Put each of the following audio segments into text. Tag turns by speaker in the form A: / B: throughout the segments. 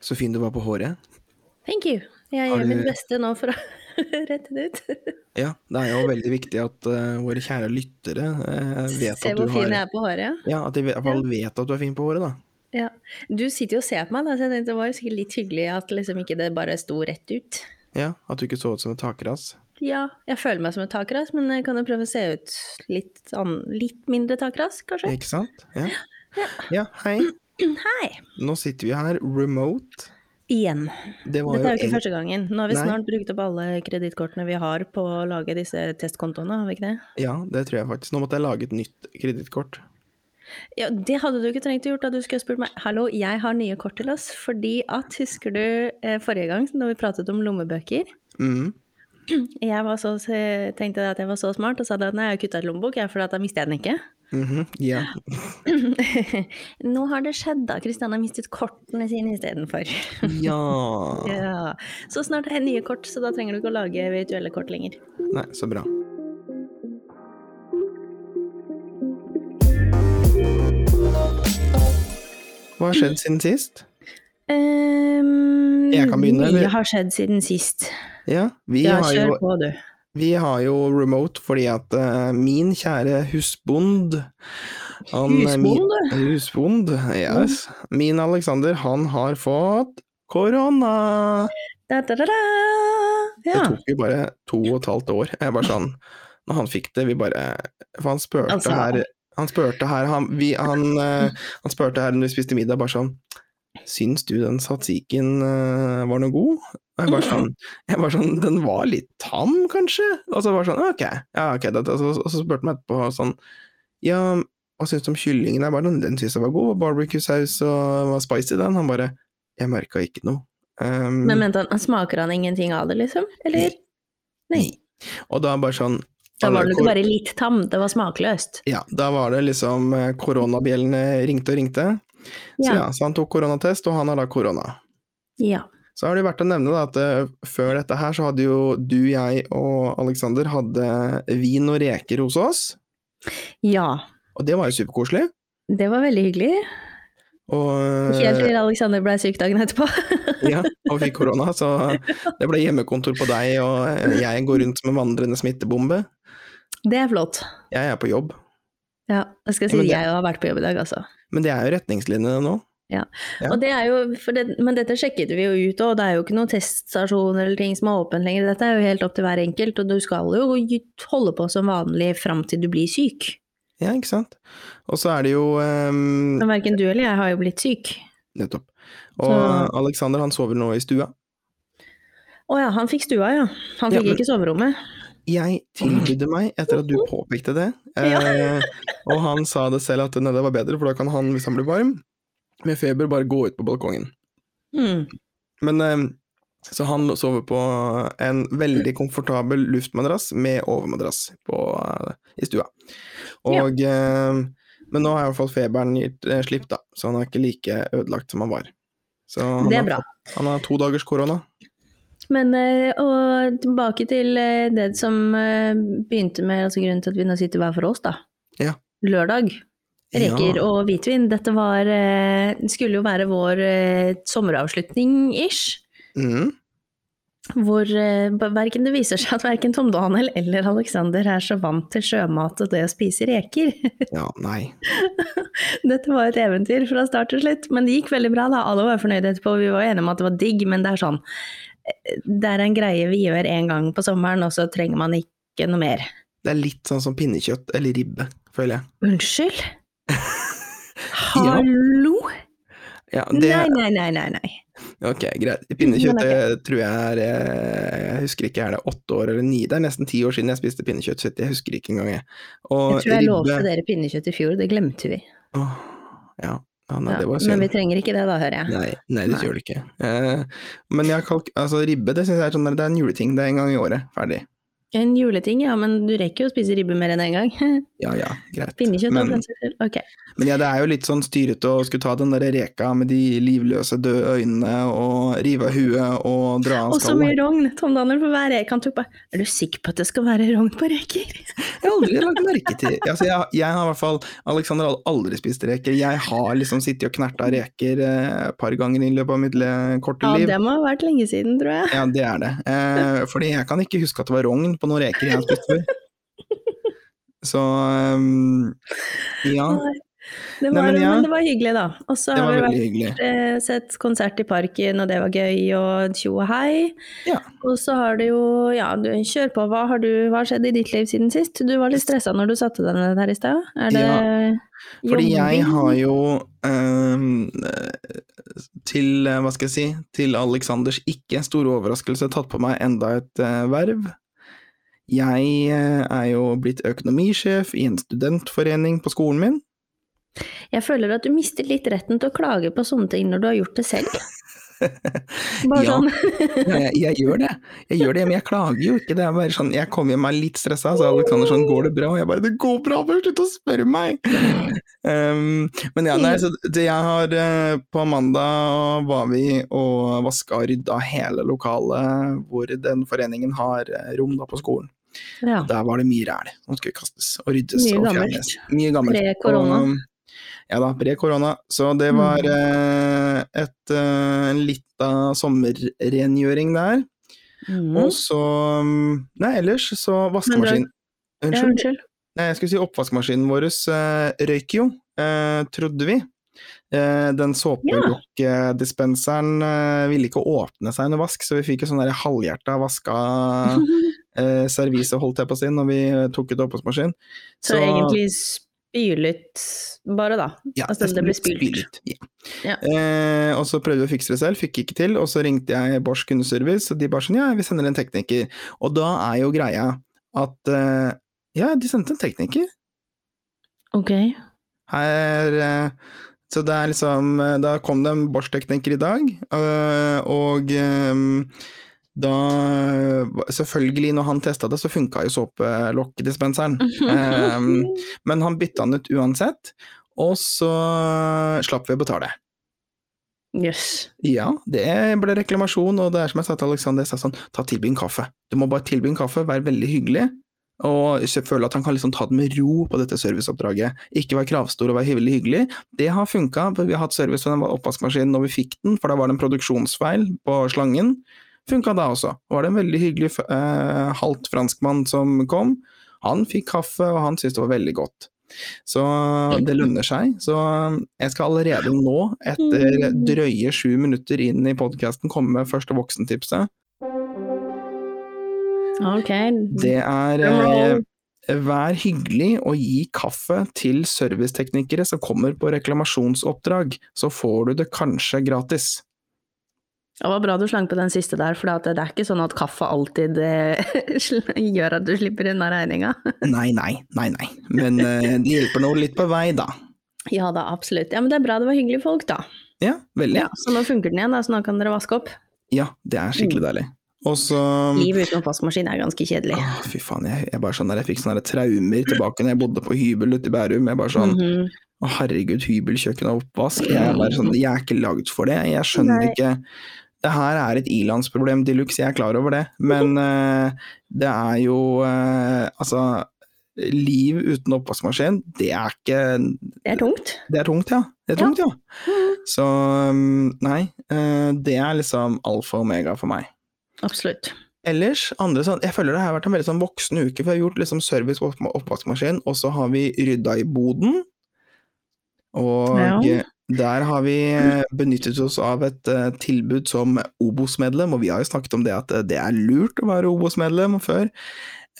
A: Så fin du var på håret.
B: Thank you. Jeg
A: Har
B: gjør
A: du-
B: mitt beste nå for å rette det ut.
A: Ja, det er jo veldig viktig at eh, våre kjære lyttere eh, vet
B: Se
A: at du
B: hvor fin
A: har
B: jeg er på håret.
A: Ja, at de i hvert fall vet at du er fin på håret, da.
B: Ja. Du sitter jo og ser på meg, da, så jeg tenkte det var jo sikkert litt hyggelig at liksom ikke det bare sto rett ut.
A: Ja, At du ikke så ut som et takras.
B: Ja, jeg føler meg som et takras, men jeg kan jo prøve å se ut litt, ann- litt mindre takras, kanskje.
A: Ikke sant? Ja. ja, hei.
B: Hei!
A: Nå sitter vi her remote.
B: Igjen.
A: Det var
B: Dette er jo
A: en-
B: ikke første gangen. Nå har vi
A: Nei.
B: snart brukt opp alle kredittkortene vi har på å lage disse testkontoene, har vi ikke det?
A: Ja, det tror jeg faktisk. Nå måtte jeg lage et nytt kredittkort.
B: Ja, Det hadde du ikke trengt å gjort da du skulle spurt meg. Hallo, jeg har nye kort til oss. Fordi at, husker du eh, forrige gang når vi pratet om lommebøker?
A: Mm.
B: Jeg var så, se- tenkte at jeg var så smart og sa at nei, jeg har kutta ut lommebok, jeg, for at da mister jeg den ikke.
A: mhm, Ja.
B: Nå har det skjedd, da. Kristian har mistet kortene sine istedenfor.
A: ja.
B: Ja. Så snart er det nye kort, så da trenger du ikke å lage virtuelle kort lenger.
A: Nei, så bra. Hva har skjedd siden sist?
B: Um,
A: Jeg kan begynne, eller?
B: Mye har skjedd siden sist.
A: Ja, vi
B: Ja,
A: har
B: kjør
A: jo
B: på, du.
A: Vi har jo remote fordi at eh, min kjære husbond han, eh,
B: Husbond,
A: Min, husbond, yes. Min Alexander, han har fått korona!
B: Da, da, da, da. Ja.
A: Det tok jo bare to og et halvt år. Jeg bare sånn Når han fikk det, vi bare For han spurte
B: Altså.
A: her Han spurte her han, vi, han, eh, han spurte her når vi spiste middag, bare sånn Syns du den satsiken eh, var noe god? Og jeg bare sånn, jeg bare sånn Den var litt tam, kanskje? Og så bare sånn Ok. Ja, ok. Det, og så, og så spurte han meg etterpå sånn Ja, hva syns du om kyllingen? Jeg bare, sånn, den, den syns jeg var god. Barbecue-saus og var spicy, den. Han bare Jeg merka ikke noe. Um,
B: Men mente han, smaker han ingenting av det, liksom? Eller? Nei.
A: Og da bare sånn
B: Da var
A: alle
B: det
A: kor-
B: ikke bare litt tam, det var smakløst.
A: Ja, da var det liksom eh, koronabjellene ringte og ringte. Så, ja,
B: Ja.
A: så han tok koronatest, og han har da korona.
B: ja.
A: Så har det vært å nevne da, at eh, før dette her så hadde jo du, jeg og Alexander hadde vin og reker hos oss.
B: Ja.
A: Og det var jo superkoselig.
B: Det var veldig hyggelig.
A: Og, eh,
B: Helt til Alexander ble syk dagen etterpå.
A: ja, og fikk korona, så det ble hjemmekontor på deg, og eh, jeg går rundt som en vandrende smittebombe.
B: Det er flott.
A: Jeg er på jobb.
B: Ja, jeg skal
A: Ja,
B: si
A: men det-
B: jeg har vært på jobb i dag, altså.
A: Men det er jo retningslinjene nå. Ja.
B: Og det er jo, for det, men dette sjekket vi jo ut, og det er jo ikke noen teststasjon eller ting som er åpen lenger. Dette er jo helt opp til hver enkelt, og du skal jo holde på som vanlig fram til du blir syk.
A: Ja, ikke sant? Og så er det jo eh,
B: Men verken du eller jeg har jo blitt syk.
A: Nettopp. Og
B: Så-
A: Alexander han sover nå i stua.
B: Å ja, han fikk stua, ja. Han
A: Ja,
B: fikk
A: men-
B: ikke soverommet.
A: Jeg tilbydde meg etter at du påpekte det,
B: Ja.
A: eh, og han sa det selv at nei, det var bedre, for da kan han, hvis han blir varm med feber, bare gå ut på balkongen.
B: Mm.
A: Men eh, så han sover på en veldig komfortabel luftmadrass med overmadrass på, eh, i stua. Og eh, Men nå har i hvert fall feberen gitt eh, slipp, da, så han er ikke like ødelagt som han var. Så han
B: Det
A: har
B: er bra.
A: fått- Han har to dagers korona.
B: Men eh, og tilbake til eh, det som eh, begynte med altså grunnen til at vi nå sitter hver for oss, da.
A: Ja.
B: Lørdag. Reker
A: Ja.
B: og hvitvin. Dette var eh, skulle jo være vår eh, sommeravslutning-ish.
A: Mhm.
B: Hvor eh, verken det viser seg at verken Tom Daniel eller Alexander er så vant til sjømat og det å spise reker.
A: Ja, nei.
B: Dette var et eventyr fra start til slutt, men det gikk veldig bra. da. Alle var fornøyde etterpå. Vi var enige om at det var digg, men det er sånn eh, Det er en greie vi gjør én gang på sommeren, og så trenger man ikke noe mer.
A: Det er litt sånn som pinnekjøtt eller ribbe, føler jeg.
B: Unnskyld? Hallo?
A: Ja, det,
B: Nei, nei, nei, nei. nei.
A: ok, greit. Pinnekjøtt
B: Men
A: eh, tror jeg er eh, Jeg husker ikke, er det åtte år eller ni? Det er nesten ti år siden jeg spiste pinnekjøtt, så jeg husker ikke engang, jeg. Og
B: Jeg tror jeg lovte dere pinnekjøtt i fjor, det glemte vi.
A: Åh, ja. ja, nei,
B: Ja,
A: det var
B: men
A: synd.
B: vi trenger ikke det da, hører jeg.
A: Nei, nei, det
B: Nei.
A: gjør det ikke. Eh, men jeg har kalk... Altså, ribbe, det syns jeg er sånn der, det er en juleting. Det er en gang i året. Ferdig.
B: En juleting, ja, men du rekker jo å spise ribbe mer enn én en gang.
A: Ja ja, greit.
B: Pinnekjøtt og
A: Men-
B: den saks skyld. Ok.
A: Men ja, det er jo litt sånn styrete å skulle ta den der reka med de livløse døde øynene og rive av huet og dra av
B: Og så mye
A: skallet.
B: rogn! Tom Danner for hver reke han tok på. Er du sikker på at det skal være rogn på reker?
A: Jeg har aldri lagt merke til altså, jeg, jeg har i hvert fall Alexander har aldri spist reker. Jeg har liksom sittet og knerta reker eh, et par ganger i løpet av mitt le- korte
B: Ja,
A: liv.
B: det må ha vært lenge siden, tror jeg.
A: Ja, det er det. Eh, fordi jeg kan ikke huske at det var rogn på noen reker jeg har spist før. Så um, ja,
B: Det
A: Nei, men
B: var, men,
A: ja.
B: det var hyggelig, da. Og så
A: det
B: har vi
A: var
B: vært
A: veldig hyggelig.
B: eh, sett konsert i parken, og det var gøy, og tjo og hei.
A: Ja.
B: Og så har du jo Ja, du, kjør på. Hva har, du, hva har skjedd i ditt liv siden sist? Du var litt stressa når du satte deg ned her i stad. Er det
A: Fordi jeg
B: jobbing?
A: har jo ehm, eh, til, eh, hva skal jeg si, til Aleksanders ikke store overraskelse tatt på meg enda et eh, verv. Jeg eh, er jo blitt økonomisjef i en studentforening på skolen min.
B: Jeg føler at du mister litt retten til å klage på sånne ting når du har gjort det selv. Bare
A: Ja.
B: sånn
A: Jeg, Eh, jeg gjør det, jeg gjør det, men jeg klager jo ikke. Det er bare sånn, jeg kommer meg litt stressa, så Aleksander sånn 'går det bra?' Og jeg bare 'det går bra, bare slutt å spørre meg'. Ehm, men ja, nei, så det jeg har eh, På mandag var vi og vaska og rydda hele lokalet hvor den foreningen har eh, rom da på skolen.
B: ja.
A: Der var det mye ræl som skulle kastes og ryddes
B: Mye
A: og
B: gammelt.
A: fjernes. Mye gammelt.
B: pre-korona.
A: Og, Ja da, pre korona. Så
B: Mm.
A: det var eh, et, eh, en lita sommerrengjøring der.
B: Mm.
A: Og så um, Nei, ellers så vaskemaskin
B: Ja,
A: Unnskyld.
B: unnskyld.
A: Nei, jeg skulle si oppvaskmaskinen vår eh, røyk jo, eh, trodde vi. Eh, den såpelokkedispenseren eh, ville ikke åpne seg under vask, så vi fikk jo sånn der halvhjerta vaska eh, servise, holdt jeg på å si, når vi eh, tok ut oppvaskmaskin.
B: Så, egentlig spylet bare, da.
A: Ja,
B: Altså, det ble spylt.
A: Ja.
B: Ja.
A: Eh, og så prøvde vi å fikse det selv, fikk ikke til. Og så ringte jeg Bosch kundeservice, og de bare sånn ja, vi sender en tekniker. Og da er jo greia at eh, ja, de sendte en tekniker.
B: Ok.
A: Her eh, Så det er liksom eh, Da kom det en Bosch-tekniker i dag, eh, og eh, da Selvfølgelig, når han testa det, så funka jo såpelokkdispenseren.
B: Mm.
A: Ehm, Men han bytta den ut uansett, og så slapp vi å betale.
B: Jøss.
A: Ja, det ble reklamasjon, og det er som jeg sa til Alexander, jeg sa sånn, ta tilby en kaffe. Du må bare tilby en kaffe, være veldig hyggelig, og kjø- føle at han kan liksom ta det med ro på dette serviceoppdraget. Ikke være kravstor og være veldig hyggelig. Det har funka, for vi har hatt service på den oppvaskmaskinen når vi fikk den, for da var det en produksjonsfeil på slangen. Funka da også. Var det en veldig hyggelig f- eh, halvt franskmann som kom. Han fikk kaffe, og han syntes det var veldig godt. Så det lønner seg. Så jeg skal allerede nå, etter
B: Mm.
A: drøye sju minutter inn i podkasten, komme med første voksentipset.
B: Mm. Ok.
A: Det er eh,
B: Drumroll.
A: vær hyggelig og gi kaffe til serviceteknikere som kommer på reklamasjonsoppdrag, så får du det kanskje gratis.
B: Det var bra du slang på den siste der, for det er ikke sånn at kaffe alltid eh, gjør at du slipper unna regninga.
A: Nei, nei, nei, nei. Men eh, det hjelper nå litt på vei, da.
B: Ja da, absolutt. Ja, Men det er bra det var hyggelige folk, da.
A: Ja, veldig.
B: Ja, så nå funker den igjen, da, så nå kan dere vaske opp.
A: Ja, det er skikkelig deilig. Og så
B: Mm. Liv uten oppvaskmaskin er ganske kjedelig.
A: Åh, Fy faen, jeg, jeg, bare sånn der, jeg fikk sånne der traumer tilbake når jeg bodde på hybel ute i Bærum. Jeg bare sånn
B: Mhm.
A: Å, herregud, hybelkjøkken og oppvask. Jeg er, bare sånn, jeg er ikke lagd for det. Jeg skjønner
B: Nei.
A: ikke Det her er et ilandsproblem de luxe, jeg er klar over det. Men eh, det er jo eh, Altså, liv uten oppvaskmaskin, det er ikke
B: Det er tungt.
A: Det er tungt, ja. Det er
B: Ja.
A: tungt, ja. Så mm, nei, eh, det er liksom alfa og omega for meg.
B: Absolutt.
A: Ellers, andre sånn, jeg føler det har vært en veldig sånn voksen uke, for jeg har gjort liksom service på opp- oppvaskmaskin, og så har vi rydda i boden. Og
B: Ja.
A: der har vi eh, benyttet oss av et eh, tilbud som Obos-medlem, og vi har jo snakket om det at eh, det er lurt å være Obos-medlem før.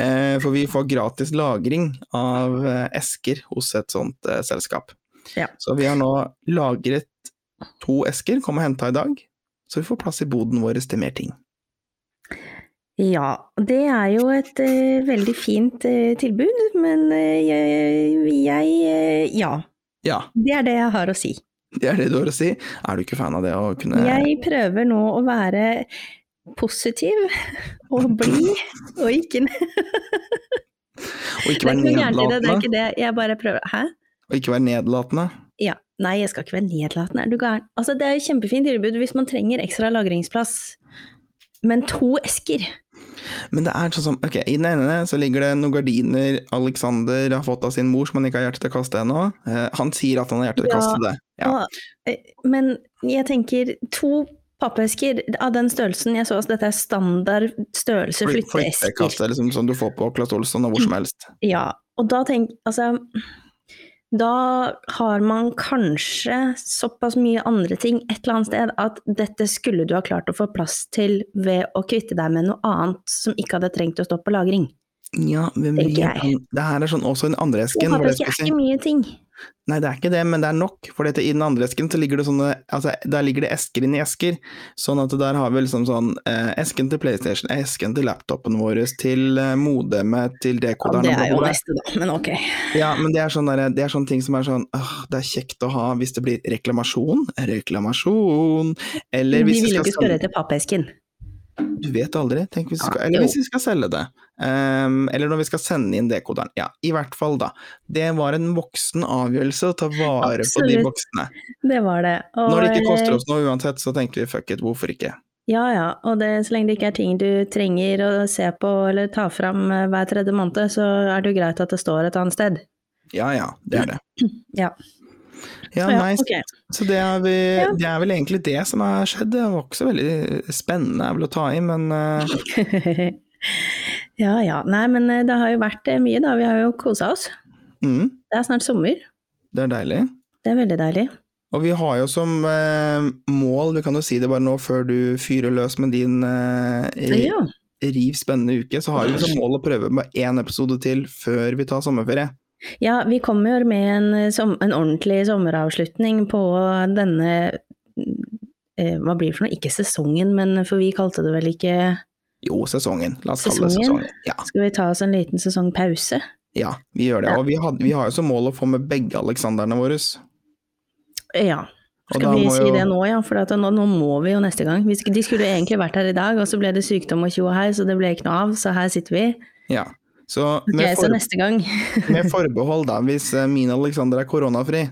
A: eh, For vi får gratis lagring av eh, esker hos et sånt eh, selskap.
B: Ja.
A: Så vi har nå lagret to esker, kom og henta i dag. Så vi får plass i boden vår til mer ting.
B: Ja, det er jo et eh, veldig fint eh, tilbud, men eh, jeg, jeg eh, Ja.
A: Ja.
B: Det er det jeg har å si.
A: Det er det du har å si. Er du ikke fan av det å kunne
B: Jeg prøver nå å være positiv og blid og ikke
A: Og ikke
B: Det er
A: være
B: ikke noe gærent i det, det er
A: nedlatende.
B: ikke det. Jeg bare prøver Hæ?
A: Og ikke være nedlatende.
B: Ja. Nei, jeg skal ikke være nedlatende. Er du gæren? Altså, det er jo kjempefint tilbud hvis man trenger ekstra lagringsplass. Men to esker?
A: Men det er sånn som Ok, i den ene så ligger det noen gardiner Alexander har fått av sin mor som han ikke har hjerte til å kaste ennå. Eh, han sier at han har hjerte til å
B: Ja.
A: kaste det. Ja.
B: Å, eh, Men jeg tenker to pappesker av den størrelsen jeg så, altså dette er standard størrelse
A: Fly-
B: flytteesker.
A: Flyttekasse, liksom sånn du får på Claes Olsson og hvor som helst.
B: Ja, og da tenk, altså da har man kanskje såpass mye andre ting et eller annet sted at dette skulle du ha klart å få plass til ved å kvitte deg med noe annet som ikke hadde trengt å stå på lagring. Mm.
A: Ja, hvem
B: Tenker
A: vet?
B: jeg.
A: Det her er sånn også i den andre
B: To
A: esken. hvor det skal
B: pappesker er
A: si-
B: ikke mye ting.
A: Nei, det er ikke det, men det er nok. For dette, i den andre esken så ligger det sånne altså, Der ligger det esker inni esker. Sånn at der har vi liksom sånn eh, Esken til PlayStation, esken til laptopen vår, til eh, modemet, til
B: Ja,
A: dekoderen
B: det
A: og
B: er jo
A: behovet.
B: neste, da, men ok.
A: Ja, men det er sånn derre- det er sånne ting som er sånn «Åh, Det er kjekt å ha hvis det blir reklamasjon. Reklamasjon. Eller
B: Men de
A: hvis vi
B: ville jo
A: skal
B: ikke spørre etter pappesken.
A: Du vet aldri. Tenk hvis vi skal,
B: Ja,
A: eller
B: jo.
A: hvis vi skal selge det. Ehm, eller når vi skal sende inn dekoderen. Ja, i hvert fall, da. Det var en voksen avgjørelse å ta vare på de
B: Absolutt.
A: voksne.
B: Det var det. Og,
A: Når det ikke koster
B: eh,
A: oss noe uansett, så tenkte vi fuck it, hvorfor ikke?
B: Ja ja, og det, så lenge det ikke er ting du trenger å se på eller ta fram eh, hver tredje måned, så er det jo greit at det står et annet sted.
A: Ja ja, det er det.
B: Ja.
A: Ja,
B: Ja,
A: nei,
B: ok.
A: Så det er, vi,
B: Ja.
A: det er vel egentlig det som har skjedd. Det var ikke så veldig spennende er vel å ta i, men eh,
B: ja ja. Nei, men eh, det har jo vært eh, mye, da. Vi har jo kosa oss.
A: mm,
B: Det er snart sommer.
A: det er deilig.
B: Det er veldig deilig.
A: Og vi har jo som eh, mål, vi kan jo si det bare nå før du fyrer løs med din eh,
B: Ja.
A: riv spennende uke, så har vi som mål å prøve med én episode til før vi tar sommerferie.
B: ja, vi kommer jo med en, eh, som, en ordentlig sommeravslutning på denne eh, Hva blir det for noe? Ikke sesongen, men eh, for vi kalte det vel ikke
A: Jo, sesongen. La oss kalle det
B: Sesongen?
A: sesongen. Ja,
B: Skal vi ta oss en liten sesongpause?
A: ja vi gjør det.
B: Ja.
A: Og vi, had, vi har jo som mål å få med begge Alexanderne våre. Og
B: Ja.
A: da
B: Skal vi
A: må
B: si
A: jo-
B: det nå, ja? For at nå, nå må vi jo neste gang. Vi sk- De skulle jo egentlig vært her i dag, og så ble det sykdom og tjo og hei, så det ble ikke noe av. Så her sitter vi.
A: Ja. Så
B: Ok,
A: med,
B: så
A: for,
B: neste gang.
A: med forbehold, da, hvis eh, min Alexander er koronafri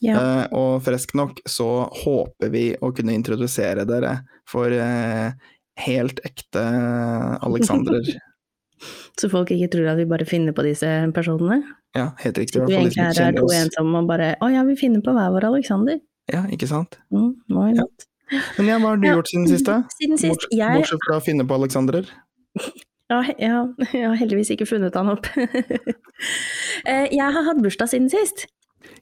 B: Ja.
A: eh, og frisk nok, så håper vi å kunne introdusere dere for eh, helt ekte Alexandrer.
B: Så folk ikke tror at vi bare finner på disse personene.
A: Ja, helt riktig. i
B: Så
A: hvert
B: vi
A: fall de
B: egentlig
A: som
B: her
A: ikke
B: er
A: kjenner
B: to
A: oss.
B: ensomme og bare Å ja, vi finner på hver vår Alexander.
A: Ja, ikke sant?
B: Mm, why
A: Ja.
B: not?
A: Men ja, hva har du
B: Ja.
A: gjort siden siste?
B: Mm, Siden sist.
A: Bortsett,
B: Jeg
A: bortsett fra å finne på Alexandrer.
B: Ja, he- ja, jeg har heldigvis ikke funnet han opp. Eh, jeg har hatt bursdag siden sist.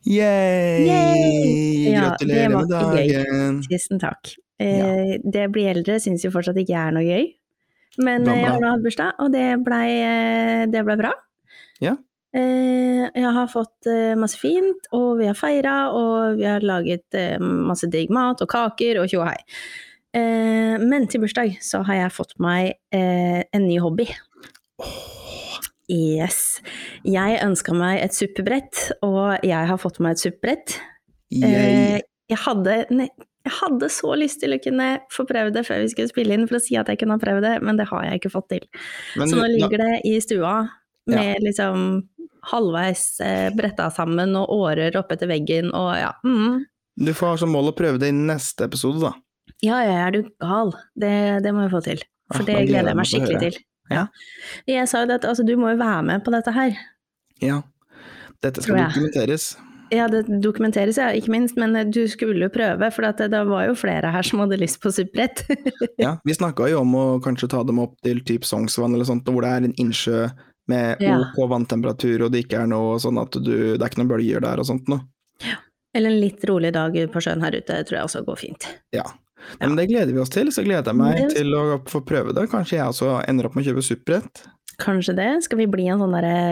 A: Yay!
B: Yay! Ja, det
A: Gratulerer
B: var
A: med
B: ikke gøy.
A: dagen!
B: Tusen takk. Eh, Det å bli eldre syns jo fortsatt ikke er noe gøy. Men
A: Da
B: eh, jeg
A: bra.
B: har nå hatt bursdag, og det blei eh, det ble bra.
A: Ja.
B: Eh, Jeg har fått eh, masse fint, og vi har feira, og vi har laget eh, masse digg mat og kaker og tjo og hei. Eh, Men til bursdag så har jeg fått meg eh, en ny hobby. Yes. Jeg ønska meg et suppebrett, og jeg har fått meg et suppebrett.
A: Yay!
B: Eh, jeg, hadde, ne, jeg hadde så lyst til å kunne få prøvd det før vi skulle spille inn, for å si at jeg kunne ha prøvd det, men det har jeg ikke fått til.
A: Men
B: så nå
A: du-
B: ligger det i stua med liksom halvveis eh, bretta sammen og årer oppetter veggen og ja. Mm.
A: du får ha som mål å prøve det i neste episode, da.
B: Ja, ja, er du gal? Det, det må vi få til.
A: Ah,
B: For det
A: nå gleder
B: gleder
A: jeg
B: jeg meg
A: meg til å
B: skikkelig
A: høre.
B: til. Ja. Jeg sa jo det at altså, du må jo være med på dette her.
A: Ja. Dette skal
B: Tror jeg.
A: dokumenteres.
B: Ja, det dokumenteres, ja, ikke minst, men eh, du skulle jo prøve, for at det, det var jo flere her som hadde lyst på suppebrett.
A: Ja, vi snakka jo om å kanskje ta dem opp til typ Sognsvann eller sånt, hvor det er en innsjø med
B: Ja.
A: OK vanntemperatur, og det ikke er noe sånn at du Det er ikke noen bølger der og sånt noe.
B: Eller en litt rolig dag på sjøen her ute, tror jeg også går fint.
A: Ja. Men det gleder vi oss til, så gleder jeg meg
B: Det-
A: til å få prøve det. Kanskje jeg også ender opp med å kjøpe supprett.
B: Kanskje det? Skal vi bli en sånn derre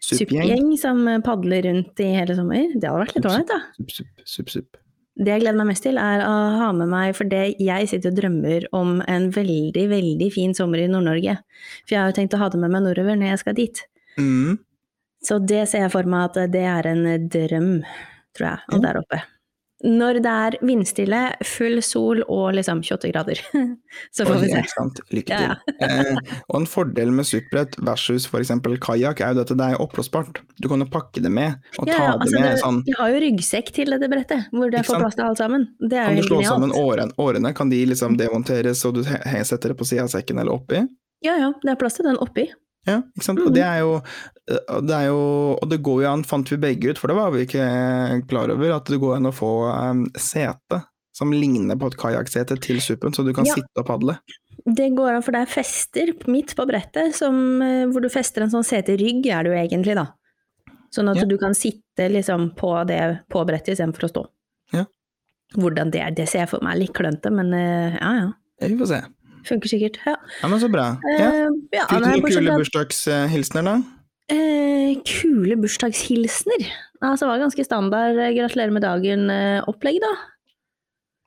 A: Suppgjeng.
B: suppegjeng som padler rundt i hele sommer? Det hadde vært litt ålreit, da.
A: Supp, supp, supp, supp.
B: Det jeg gleder meg mest til, er å ha med meg For det jeg sitter og drømmer om en veldig, veldig fin sommer i Nord-Norge. For jeg har jo tenkt å ha det med meg nordover når jeg skal dit.
A: Mm.
B: Så det ser jeg for meg at det er en drøm, tror jeg,
A: Ja.
B: der oppe. Når det er vindstille, full sol og liksom 28 grader. Så får
A: Oi,
B: vi se.
A: ikke sant? Lykke til.
B: Ja,
A: eh, og en fordel med superbrett versus f.eks. kajakk er jo dette, det er jo oppblåsbart. Du kan jo pakke det med, og ta
B: Ja, ja, altså
A: det med
B: det-
A: sånn.
B: Vi har jo ryggsekk til dette brettet, hvor det
A: Ikke
B: får
A: sant?
B: plass til alt sammen. Det er
A: Kan
B: jo
A: du
B: helt
A: slå sammen
B: genialt.
A: årene, årene? Kan de liksom demonteres, og du he- he- setter det på sida av sekken eller oppi?
B: Ja ja, det er plass til den oppi.
A: Ja, ikke sant? Og det
B: Mm.
A: er jo, og det er jo Og det går jo an, fant vi begge ut, for det var vi ikke eh, klar over, at det går an å få em, sete som ligner på et kajakksete til suppen, så du kan
B: Ja.
A: sitte og padle.
B: Det går an, for det er fester midt på brettet som, eh, hvor du fester en sånn seterygg, er det jo egentlig, da. Sånn at
A: Ja.
B: du kan sitte liksom på det på brettet istedenfor å stå.
A: Ja.
B: Hvordan det er, det ser jeg for meg er litt klønete, men eh, ja ja.
A: Ja, vi får se.
B: Funker sikkert. Ja.
A: Ja, men så bra. Ja.
B: Eh, ja,
A: Fikk du
B: nei,
A: noen
B: bortsett
A: kule
B: fra-
A: bursdagshilsener, da?
B: Eh, kule bursdagshilsener. Altså, det var ganske standard eh, 'gratulerer med dagen'-opplegg, da.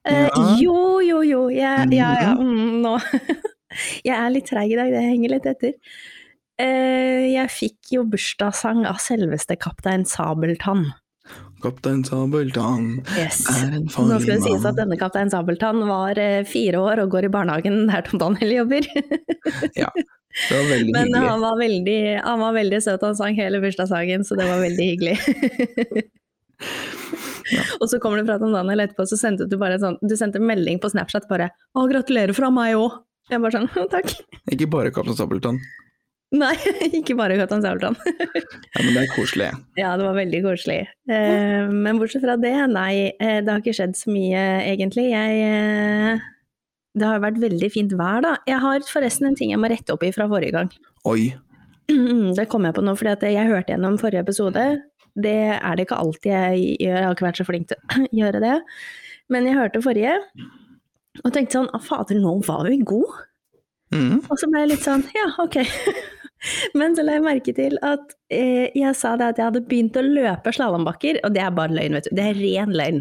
B: Eh,
A: Ja.
B: Jo, jo, jo. Jeg, ja, ja. Mm, nå. jeg er litt treig i dag, det henger litt etter. Eh, jeg fikk jo bursdagssang av selveste kaptein Sabeltann.
A: Kaptein Sabeltann
B: Yes.
A: er en farlig
B: Nå skal det sies at
A: mann.
B: denne kaptein Sabeltann var eh, fire år og går i barnehagen der Tom Daniel jobber.
A: Det var veldig
B: Men eh,
A: hyggelig.
B: han var, veldig, han var veldig søt, han sang hele bursdagssangen, så det var veldig hyggelig. Og så kommer det fra Tom Daniel etterpå, så sendte du bare en sånn, du sendte en melding på Snapchat bare 'Å, gratulerer fra meg òg'. Jeg bare sånn 'Takk'.
A: Ikke bare Kaptein Sabeltann.
B: Nei, ikke bare Gøtan Sabeltann.
A: Ja, men det er koselig.
B: Ja, det var veldig koselig. Eh, men bortsett fra det, nei, eh, det har ikke skjedd så mye, egentlig. Jeg eh, Det har vært veldig fint vær, da. Jeg har forresten en ting jeg må rette opp i fra forrige gang.
A: Oi.
B: Mm, Det kom jeg på nå, fordi at jeg hørte gjennom forrige episode. Det er det ikke alltid jeg gjør, jeg har ikke vært så flink til å gjøre det. Men jeg hørte forrige, og tenkte sånn «Å, Fader, nå var vi gode!
A: Mhm.
B: Og så ble jeg litt sånn Ja, ok. Men så la jeg merke til at eh, jeg sa det at jeg hadde begynt å løpe slalåmbakker, og det er bare løgn, vet du. Det er ren løgn.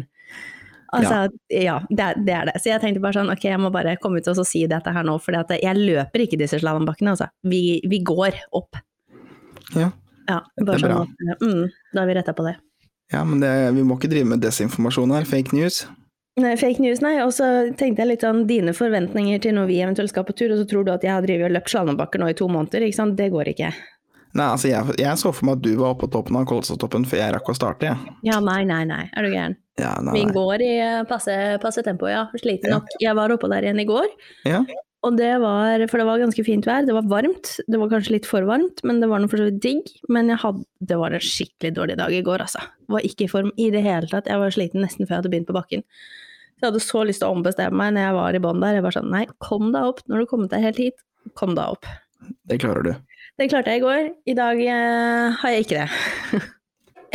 B: Altså, ja, det, er, det er det. Så jeg tenkte bare sånn, ok, jeg må bare komme ut og så si dette her nå, for jeg løper ikke disse slalåmbakkene, altså. Vi, vi går opp.
A: Ja.
B: Ja,
A: Dette
B: bare
A: er
B: sånn at, mm, da har vi retta på det.
A: Ja, men det, vi må ikke drive med desinformasjon her. Fake news.
B: Nei, Fake news, nei. Og så tenkte jeg litt sånn dine forventninger til når vi eventuelt skal på tur, og så tror du at jeg har drevet og løpt slalåmbakker nå i to måneder, ikke sant. Det går ikke.
A: Nei, altså, jeg, jeg så for meg at du var oppe på toppen av Kolsåtoppen før jeg rakk å starte, jeg.
B: Ja, nei, nei, nei. Er du gæren.
A: Ja, nei,
B: Vi
A: nei.
B: går i eh, passe, passe tempo, ja. Sliten
A: Ja.
B: nok. Jeg var oppå der igjen i går.
A: Ja.
B: Og det var, for det var ganske fint vær, det var varmt, det var kanskje litt for varmt, men det var noe for så vidt digg. Men jeg hadde, det var en skikkelig dårlig dag i går, altså. Var ikke i form i det hele tatt, jeg var sliten nesten før jeg hadde begynt på bakken. Så jeg hadde så lyst til å ombestemme meg når jeg var i bånn der, jeg var sånn, nei, kom deg opp, når du har kommet deg helt hit, kom deg opp.
A: Det klarer du.
B: Det klarte jeg i går, i dag eh, har jeg ikke det.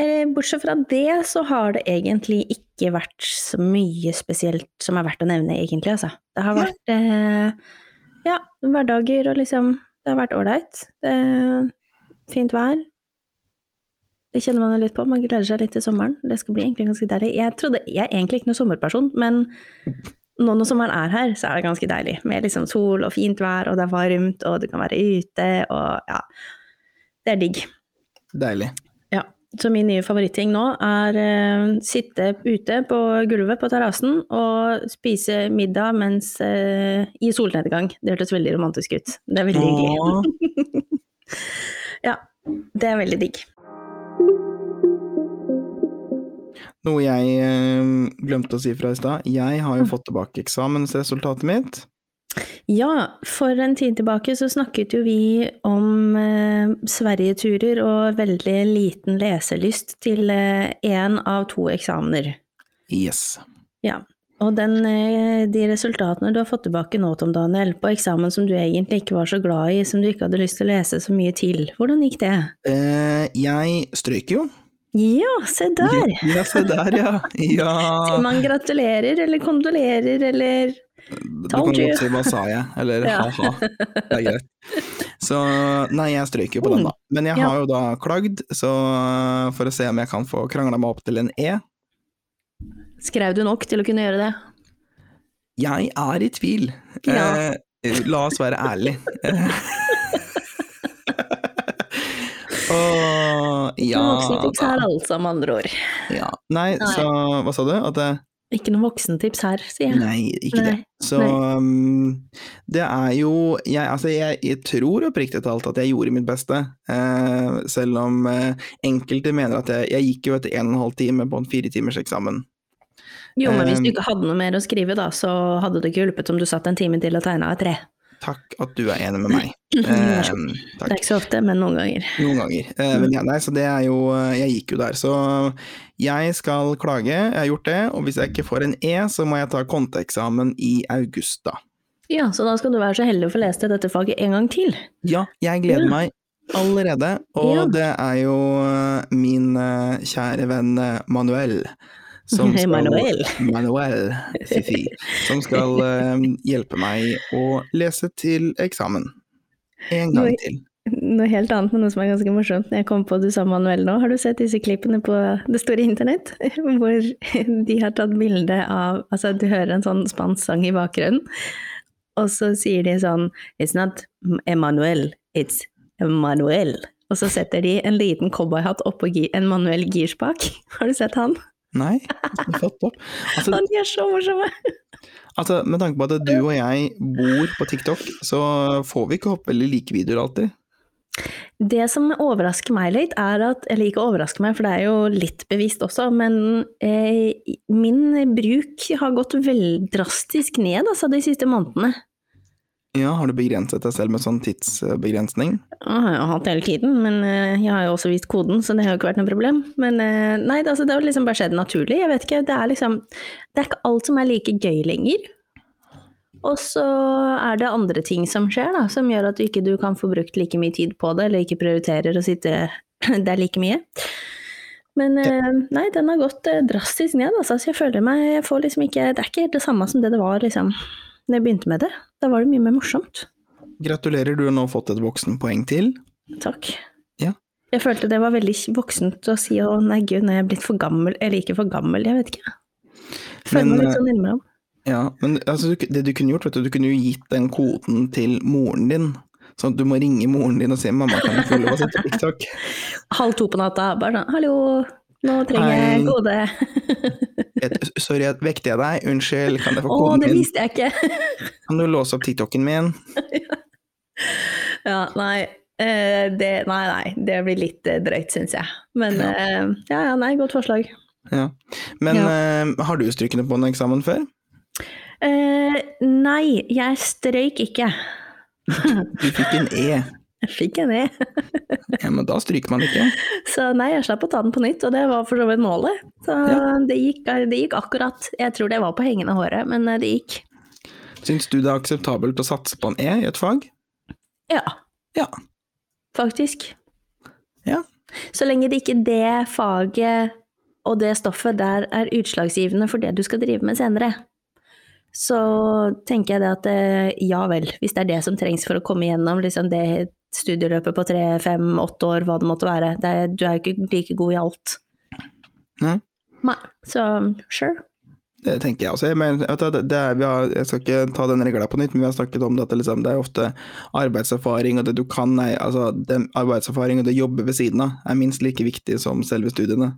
B: Eh, Bortsett fra det, så har det egentlig ikke vært så mye spesielt som er verdt å nevne, egentlig, altså. Det har
A: Nei.
B: vært eh, ja, hverdager og liksom Det har vært ålreit. Det er Fint vær. Det kjenner man jo litt på. Man gleder seg litt til sommeren. Det skal bli egentlig ganske deilig. Jeg, trodde, jeg er egentlig ikke noen sommerperson, men nå når sommeren er her, så er det ganske deilig. Med liksom sol og fint vær, og det er varmt, og du kan være ute, og ja. Det er digg.
A: Deilig.
B: Ja. Så min nye favoritting nå er eh, sitte ute på gulvet på terrassen og spise middag mens eh, i solnedgang. Det hørtes veldig romantisk ut. Det er veldig hyggelig.
A: Åh.
B: Ja. Det er veldig digg.
A: Noe jeg eh, glemte å si fra i stad. Jeg har jo fått tilbake eksamensresultatet mitt.
B: Ja, for en tid tilbake så snakket jo vi om eh, Sverigeturer og veldig liten leselyst til én av to eksamener.
A: Yes.
B: Og den, eh, de resultatene du har fått tilbake nå, Tom Daniel, på eksamen som du egentlig ikke var så glad i, som du ikke hadde lyst til å lese så mye til, hvordan gikk det?
A: Eh, jeg strøyker jo.
B: Ja, se der!
A: Ja, se der, ja. ja.
B: Sier man gratulerer eller kondolerer eller
A: Du kan
B: Told you.
A: godt si 'hva sa jeg', eller
B: Ja.
A: ha-ha. Det er greit. Så nei, jeg strøyker jo på den, da. Men jeg
B: Mm. Ja.
A: har jo da klagd, så for å se om jeg kan få krangla meg opp til en E.
B: Skrev du nok til å kunne gjøre det?
A: Jeg er i tvil.
B: Ja.
A: Eh, la oss være ærlig. Eh. Åh, ja
B: Voksentips
A: da.
B: her altså, med andre ord.
A: Ja. Nei,
B: Nei.
A: så hva sa du? At jeg
B: Ikke noe voksentips her, sier jeg.
A: Nei, ikke det.
B: Nei,
A: Så um, det er jo jeg, altså jeg, jeg tror oppriktig talt at jeg gjorde mitt beste, eh, selv om eh, enkelte mener at jeg, jeg gikk jo etter en og en halv time på en fire timers eksamen.
B: Jo, men hvis
A: Ehm.
B: du ikke hadde noe mer å skrive, da, så hadde det ikke hjulpet om du satt en time til og tegna et tre.
A: Takk at du er enig med meg.
B: Vær så god.
A: Eh,
B: Det
A: takk.
B: er ikke så ofte, men noen ganger.
A: Noen ganger. Eh, men ja, nei, så det er jo eh, Jeg gikk jo der. Så jeg skal klage, jeg har gjort det. Og hvis jeg ikke får en E, så må jeg ta konteeksamen i august, da.
B: Ja, så da skal du være så heldig å få lest dette faget en gang til.
A: Ja, jeg gleder
B: Ja.
A: meg allerede. Og
B: Ja.
A: det er jo eh, min eh, kjære venn eh, Manuel. Som skal,
B: Manuel.
A: Manuel, fifi, som skal eh, hjelpe meg å lese til eksamen. En gang
B: Oi.
A: til.
B: Noe helt annet, men noe som er ganske morsomt. Når jeg kom på du sa Manuel nå, har du sett disse klippene på det store internett? Hvor de har tatt bilde av Altså, du hører en sånn spansk sang i bakgrunnen, og så sier de sånn It's not Emanuel, it's Manuel. Og så setter de en liten cowboyhatt oppå gi- en manuell girspak. Har du sett han?
A: Nei, jeg har fått opp. Altså,
B: Han er så morsom!
A: Altså, Med tanke på at du og jeg bor på TikTok, så får vi ikke opp veldig like videoer alltid.
B: Det som overrasker meg litt, er at Eller ikke overrasker meg, for det er jo litt bevisst også, men eh, min bruk har gått vel drastisk ned altså, de siste månedene.
A: Ja, Har du begrenset deg selv med sånn tidsbegrensning?
B: Jeg har jo hatt det hele tiden, men eh, jeg har jo også vist koden, så det har jo ikke vært noe problem. Men eh, nei, det, altså, det har liksom bare skjedd naturlig. Jeg vet ikke, det er liksom Det er ikke alt som er like gøy lenger. Og så er det andre ting som skjer, da, som gjør at du ikke du kan få brukt like mye tid på det, eller ikke prioriterer å sitte der like mye. Men eh, nei, den har gått eh, drastisk ned, altså. Så jeg føler meg jeg får liksom ikke Det er ikke det samme som det det var liksom da jeg begynte med det. Da var det mye mer morsomt.
A: Gratulerer, du har nå fått et voksenpoeng til.
B: Takk.
A: Ja.
B: Jeg følte det var veldig voksent å si å nei gud, nå er jeg blitt for gammel, eller ikke for gammel, jeg vet ikke. Føler
A: Men,
B: meg
A: eh,
B: litt sånn innimellom.
A: Ja, Men altså, du, det du kunne gjort, vet du, du kunne jo gitt den koden til moren din. Sånn at du må ringe moren din og si 'mamma, kan du få lov å se på TikTok'?
B: Halv to på natta, bare sånn hallo, nå trenger
A: Hei.
B: jeg kode.
A: Et, 'Sorry, jeg vekte jeg deg? Unnskyld, kan jeg få
B: Å,
A: koden
B: det
A: min?
B: visste jeg ikke!
A: Kan du låse opp TikToken min?'
B: Ja, nei. eh, Det, nei, nei, det blir litt eh, drøyt, syns jeg. Men
A: Ja.
B: eh, ja, ja, nei, godt forslag.
A: Ja. Men
B: Ja.
A: eh, har du strykende på en eksamen før?
B: Eh, nei, jeg strøyk ikke.
A: Du fikk en E.
B: Jeg fikk en E.
A: Ja, Men da stryker man ikke.
B: Så nei, jeg slapp å ta den på nytt, og det var for så vidt målet. Så det, gikk, det gikk akkurat. Jeg tror det var på hengende håret, men eh, det gikk.
A: Syns du det er akseptabelt å satse på en E i et fag?
B: Ja.
A: Ja.
B: Faktisk.
A: Ja.
B: Så lenge det ikke det faget og det stoffet der er utslagsgivende for det du skal drive med senere, så tenker jeg det at eh, ja vel, hvis det er det som trengs for å komme gjennom liksom det studieløpet på tre, fem, åtte år, hva det måtte være. Det er, du er jo ikke like god i alt.
A: Nei.
B: Nei. Så sure.
A: Det tenker jeg også. Jeg, mener, vet du, det- det er, vi har, jeg skal ikke ta den regla på nytt, men vi har snakket om det at det, liksom, det er ofte arbeidserfaring og det du kan er, altså, det, arbeidserfaring og det å jobbe ved siden av er minst like viktig som selve studiene.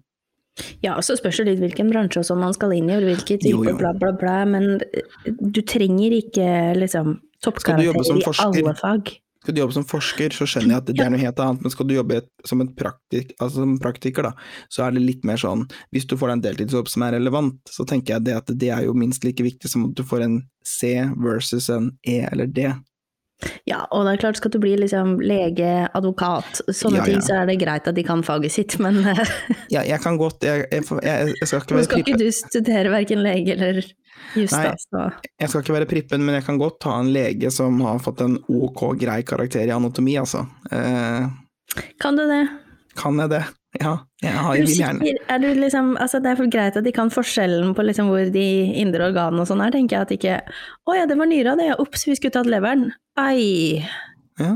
B: Ja, så spørs det litt hvilken bransje og sånn man skal inn i, og hvilket
A: Jo,
B: type
A: jo.
B: bla, bla, bla, men eh, du trenger ikke liksom
A: Skal du jobbe som
B: toppkarakterer i
A: forsker?
B: alle fag.
A: Skal du jobbe som forsker, så skjønner jeg at det, det er noe helt annet, men skal du jobbe i et, som, en praktik, altså som praktiker, da, så er det litt mer sånn Hvis du får deg en deltidsjobb som er relevant, så tenker jeg det at det er jo minst like viktig som at du får en C versus en E eller D.
B: Ja, og det er klart, skal du bli liksom lege, advokat, sånne
A: Ja, ja.
B: ting, så er det greit at de kan faget sitt, men eh,
A: Ja, jeg kan godt Jeg, jeg, får- jeg, jeg, skal, ikke
B: nå
A: være
B: skal ikke
A: prippen,
B: du studere verken lege eller jus,
A: Nei.
B: da, så
A: jeg skal ikke være prippen, men jeg kan godt ta en lege som har fått en ok grei karakter i anatomi, altså. Eh,
B: kan du det?
A: kan jeg det? Ja, jeg, har,
B: Er
A: jeg
B: du
A: vil gjerne
B: sikker? Er du liksom, altså det er for greit at de kan forskjellen på liksom hvor de indre organene og sånn er, tenker jeg at ikke Å ja, det var nyra, det, ja, ops, vi skulle tatt leveren. Ai.
A: ja.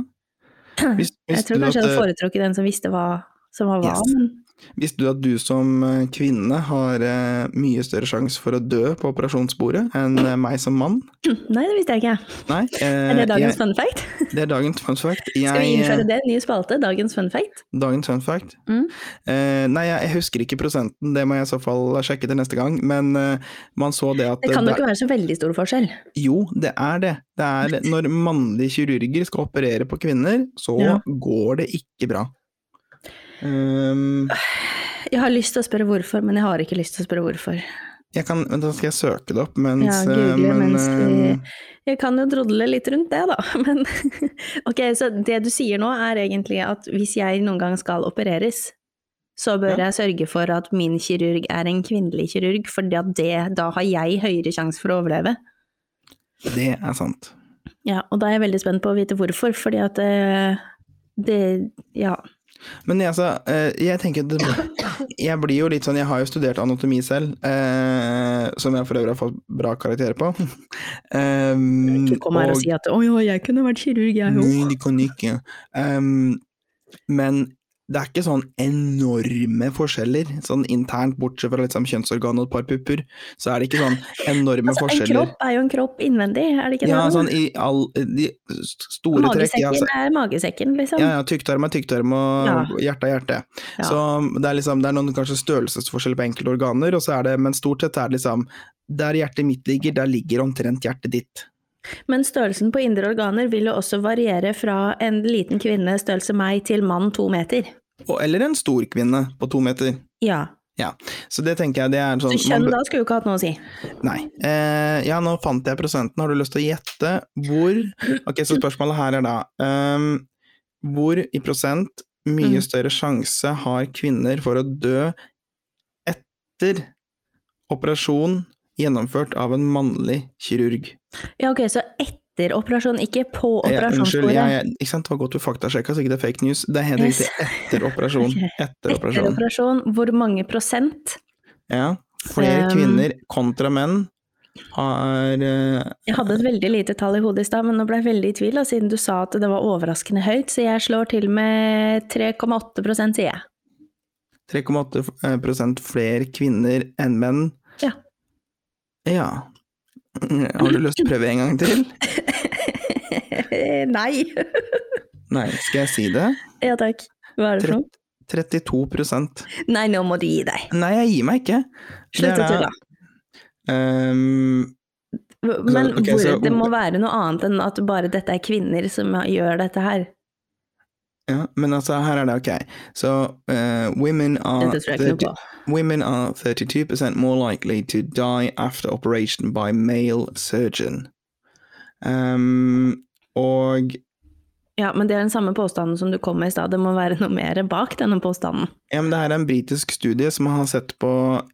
A: Hvis- hvis
B: Jeg tror
A: du
B: kanskje
A: at,
B: jeg hadde
A: eh,
B: foretrukket den som visste hva som var hva.
A: Yes.
B: Men
A: Visste du at du som eh, kvinne har eh, mye større sjanse for å dø på operasjonsbordet enn eh, meg som mann?
B: Nei, det visste jeg ikke.
A: Nei. eh,
B: Er det dagens
A: jeg,
B: fun fact?
A: det er dagens fun fact.
B: Skal vi
A: Jeg, eh,
B: innføre det? Ny spalte? Dagens fun fact?
A: Dagens fun fact?
B: Mm.
A: Eh, nei, jeg, jeg husker ikke prosenten, det må jeg i så fall sjekke til neste gang. Men eh, man så det at
B: Det kan jo
A: det-
B: ikke være så veldig stor forskjell.
A: Jo, det er det. Det er når mannlige kirurger skal operere på kvinner, så
B: Ja.
A: går det ikke bra. Ehm,
B: Jeg har lyst til å spørre hvorfor, men jeg har ikke lyst til å spørre hvorfor.
A: jeg kan, vent, da skal jeg søke det opp mens
B: Ja,
A: eh,
B: google
A: men,
B: mens vi-
A: ehm,
B: Jeg kan jo drodle litt rundt det, da. Men ok, så det du sier nå er egentlig at hvis jeg noen gang skal opereres, så bør
A: Ja.
B: jeg sørge for at min kirurg er en kvinnelig kirurg, for det, da har jeg høyere sjanse for å overleve.
A: Det er sant.
B: Ja, og da er jeg veldig spent på å vite hvorfor, fordi at eh, det Ja.
A: Men jeg, altså, eh, jeg tenker det, Jeg blir jo litt sånn Jeg har jo studert anatomi selv, eh, som jeg for øvrig har fått bra karakterer på. Um,
B: Ikke kom her og si at 'å ja, jeg kunne vært kirurg, jeg
A: Nei,
B: òg'.
A: de kan ikke. Ehm, men det er ikke sånn enorme forskjeller, sånn internt, bortsett fra liksom kjønnsorgan og et par pupper, så er det ikke sånn enorme
B: Altså, en
A: forskjeller.
B: kropp er jo en kropp innvendig, er det ikke
A: Ja,
B: det?
A: sånn i all, de store trekk. Ja,
B: magesekken
A: altså,
B: er magesekken, liksom.
A: ja, ja, tykktarm er tykktarm, og hjerte er hjerte.
B: Ja.
A: Så det er, liksom, det er noen kanskje størrelsesforskjell på enkelte organer, og så er det, men stort sett er det liksom der hjertet mitt ligger, der ligger omtrent hjertet ditt.
B: Men størrelsen på indre organer vil jo også variere fra en liten kvinne størrelse meg til mann to meter.
A: Og, eller en stor kvinne på to meter.
B: Ja.
A: Så det tenker jeg det er en sånn
B: Så
A: man
B: kjønn
A: bør-
B: da skulle jo ikke hatt noe å si.
A: Nei. Eh, ja, nå fant jeg prosenten. Har du lyst til å gjette hvor Ok, så spørsmålet her er da ehm, Hvor i prosent mye
B: Mm.
A: større sjanse har kvinner for å dø etter operasjon gjennomført av en mannlig kirurg?
B: Ja, ok, så etter operasjon, ikke på
A: Jeg, unnskyld,
B: operasjonsbordet.
A: jeg, jeg, ikke sant? det var godt du faktasjekka, så ikke det er fake news. Det er helt
B: Yes.
A: riktig. Etter operasjon.
B: Ok.
A: Etter
B: Etter
A: operasjon.
B: operasjon, hvor mange prosent?
A: Ja. Flere
B: Ehm.
A: kvinner kontra menn har eh,
B: Jeg hadde et veldig lite tall i hodet i stad, men nå ble jeg veldig i tvil, og siden du sa at det var overraskende høyt, så jeg slår til med 3,8 prosent, sier jeg.
A: 3,8 eh, flere kvinner enn menn.
B: Ja.
A: Ja. Har du lyst til å prøve en gang til?
B: Nei!
A: Nei, skal jeg si det?
B: ja takk. Hva er det for noe?
A: 32
B: Nei, nå må du gi deg.
A: Nei, jeg gir meg ikke.
B: Slutt å tulle.
A: Um,
B: Men
A: ok,
B: hvor,
A: så-
B: det må være noe annet enn at bare dette er kvinner som gjør dette her.
A: ja, men altså, her er det ok. Så eh, women are
B: Dette tror jeg
A: 30
B: ikke noe på.
A: Women are 32% more likely to die after operation by male surgeon. Um, og
B: Ja, men det er den samme påstanden som du kom med i stad. Det må være noe mer bak denne påstanden.
A: Ja, men det her er en britisk studie som har sett på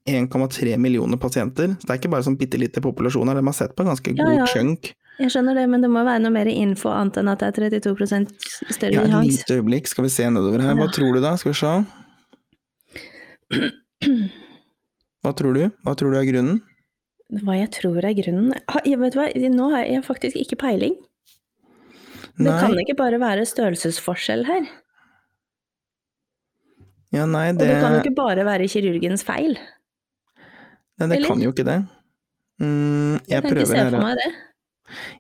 A: 1,3 millioner pasienter. Så det er ikke bare sånn bitte lite populasjon her, de har sett på en ganske
B: Ja,
A: god
B: ja.
A: chunk.
B: Jeg skjønner det, men det må være noe mer info annet enn at det er 32 større
A: Ja,
B: ja,
A: et
B: sjanse.
A: lite øyeblikk, skal vi se nedover her. Hva
B: Ja.
A: tror du da? Skal vi se. Hva tror du? Hva tror du er grunnen?
B: Hva jeg tror er grunnen Ha, jeg Vet du hva, nå har jeg faktisk ikke peiling. Det kan
A: Nei,
B: ikke bare være størrelsesforskjell her.
A: ja, nei
B: Og
A: det,
B: det kan jo
A: nei,
B: ikke bare være kirurgens feil.
A: det
B: eller?
A: kan jo ikke det. Mm, jeg,
B: Jeg kan ikke
A: prøver
B: se
A: her,
B: for
A: å-
B: meg det.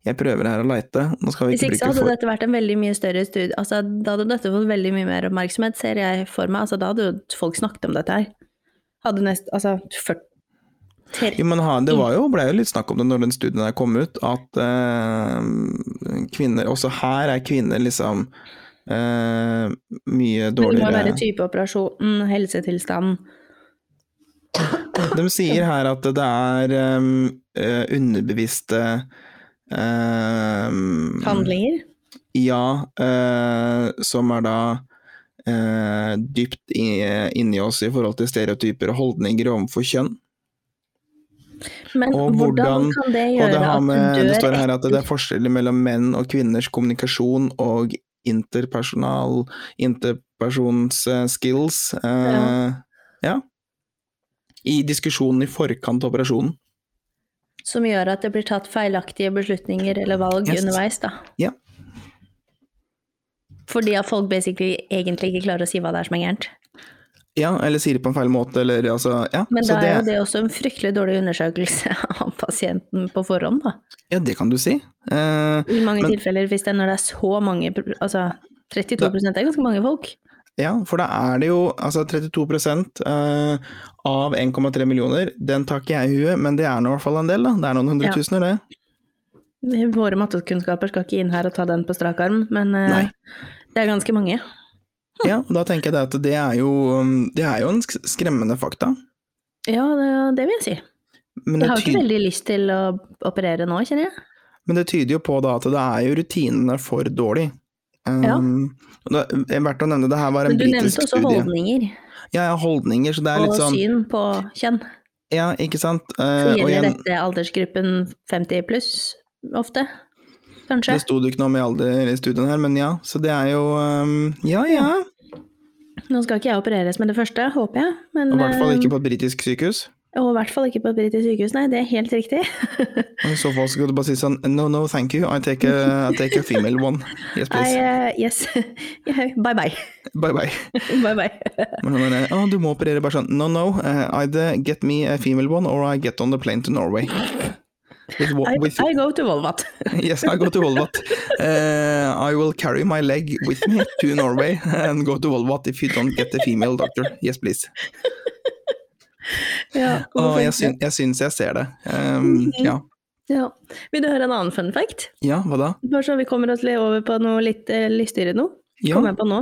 A: jeg prøver her å leite. Nå skal vi
B: Hvis
A: ikke
B: ikke så
A: bruke
B: hadde
A: for...
B: dette vært en veldig mye større studie, altså da hadde dette fått veldig mye mer oppmerksomhet, ser jeg for meg, altså da hadde jo folk snakket om dette her. Hadde nest, altså 40
A: Jo, men ha- det var jo, ble jo litt snakk om det når den studien der kom ut, at eh, kvinner Også her er kvinner liksom eh, mye
B: Men det må jo
A: dårligere
B: være type operasjon, helsetilstand.
A: De sier her at det er eh, eh, underbevisste eh,
B: Handlinger?
A: Ja, eh, som er da eh, dypt i, inni oss i forhold til stereotyper og holdninger overfor kjønn.
B: Men
A: Og
B: hvordan,
A: hvordan-
B: kan det
A: Og
B: gjøre
A: det, har med,
B: at du
A: det
B: dør
A: står her
B: etter
A: at det er forskjeller mellom menn og kvinners kommunikasjon og interpersonal interpersons eh, skills eh, ja. i diskusjonen i forkant av operasjonen.
B: Som gjør at det blir tatt feilaktige beslutninger eller valg
A: Yes.
B: underveis, da.
A: Ja.
B: Fordi at folk basically egentlig ikke klarer å si hva det er som er gærent.
A: Ja, eller sier det på en feil måte, eller altså Ja,
B: Men
A: så
B: da er jo
A: det,
B: det også en fryktelig dårlig undersøkelse av pasienten på forhånd, da.
A: ja, det kan du si. Eh,
B: I mange
A: Men-
B: tilfeller, hvis det er når det er så mange pro- Altså, 32 er ganske mange folk.
A: ja, for da er det jo altså 32 eh, av 1,3 millioner. Den tar ikke jeg i huet, men det er nå i hvert fall en del, da. Det er noen
B: Ja.
A: hundretusener, det.
B: Våre mattekunnskaper skal ikke inn her og ta den på strak arm, men eh,
A: Nei.
B: det er ganske mange. Hm.
A: Ja, og da tenker jeg det at det er jo, um, det er jo en sk- skremmende fakta.
B: Ja, det, det vil jeg si.
A: Men
B: Jeg
A: det,
B: har ikke
A: tyder,
B: veldig lyst til å operere nå, kjenner jeg.
A: men det tyder jo på da at det er jo rutinene for dårlig. Um,
B: Ja.
A: og Det er verdt å nevne, det her var en
B: Men du nevnte
A: britisk
B: også
A: studie.
B: holdninger
A: Ja, ja, holdninger, så det er
B: og
A: litt sånn
B: syn på kjønn.
A: Ja, ikke sant? Eh,
B: Så
A: og
B: gjelder
A: igjen,
B: dette aldersgruppen 50 pluss ofte, kanskje?
A: det sto det ikke noe om i alder i studien her, men ja. Så det er jo um, Ja, ja.
B: Nå skal ikke jeg opereres med det første, håper jeg. Men,
A: Og i hvert fall
B: eh,
A: ikke på et britisk sykehus.
B: Og i hvert fall ikke på et britisk sykehus, nei, det er helt riktig.
A: Og I så fall skal du bare si sånn No, no, thank you. I take a, I take a female one. Yes,
B: Nei,
A: please.
B: eh, yes. bye bye.
A: Bye, bye.
B: bye, bye.
A: Men han er, «Å, du må operere bare sånn. No, no. Uh, either get me a female one, or I get on the plane to Norway. With, wa-
B: I,
A: with,
B: I go to Volvat.
A: yes, I go to Volvat. Eh, I will carry my leg with me to Norway and go to Volvat if you don't get a female doctor. Yes, please.
B: Ja,
A: Å,
B: hvorfor
A: ah, jeg,
B: ikke? Mm-hmm.
A: syn, jeg syns jeg ser det. Um, ja.
B: ja. Vil du høre en annen fun fact?
A: ja, hva da?
B: Bare så vi kommer oss litt over på noe litt eh, lystigere nå.
A: Ja.
B: Kommer jeg på nå.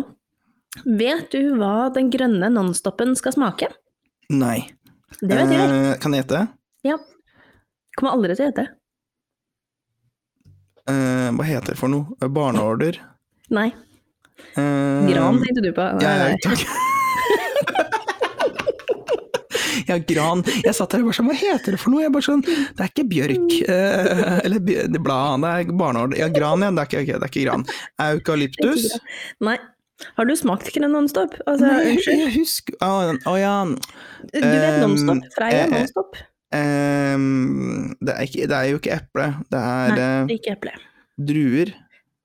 B: Vet du hva den grønne nonstopen skal smake?
A: Nei.
B: Det vet jeg.
A: Eh, kan jeg hete?
B: Ja. Kommer aldri til å hete.
A: Eh, hva heter det for noe? Barneorder?
B: Nei.
A: Eh,
B: Gran tenkte du på. Nei,
A: Ja, ja,
B: nei.
A: takk. Ja, gran. Jeg satt der og bare sånn, hva heter det for noe? Jeg bare sånn, det er ikke bjørk, eh, eller bj- det er blad, det er barneord. Ja, gran, ja, det er ikke, ok, det er ikke gran. Eukalyptus?
B: nei. Har du smakt grønn nonstop? Altså,
A: Nei,
B: unnskyld.
A: jeg husker, å ja,
B: Du vet
A: Ehm,
B: nonstop? Freia
A: eh, eh,
B: nonstop,
A: Ehm, det, er ikke, det er jo ikke eple, det er eh,
B: ikke eple.
A: druer,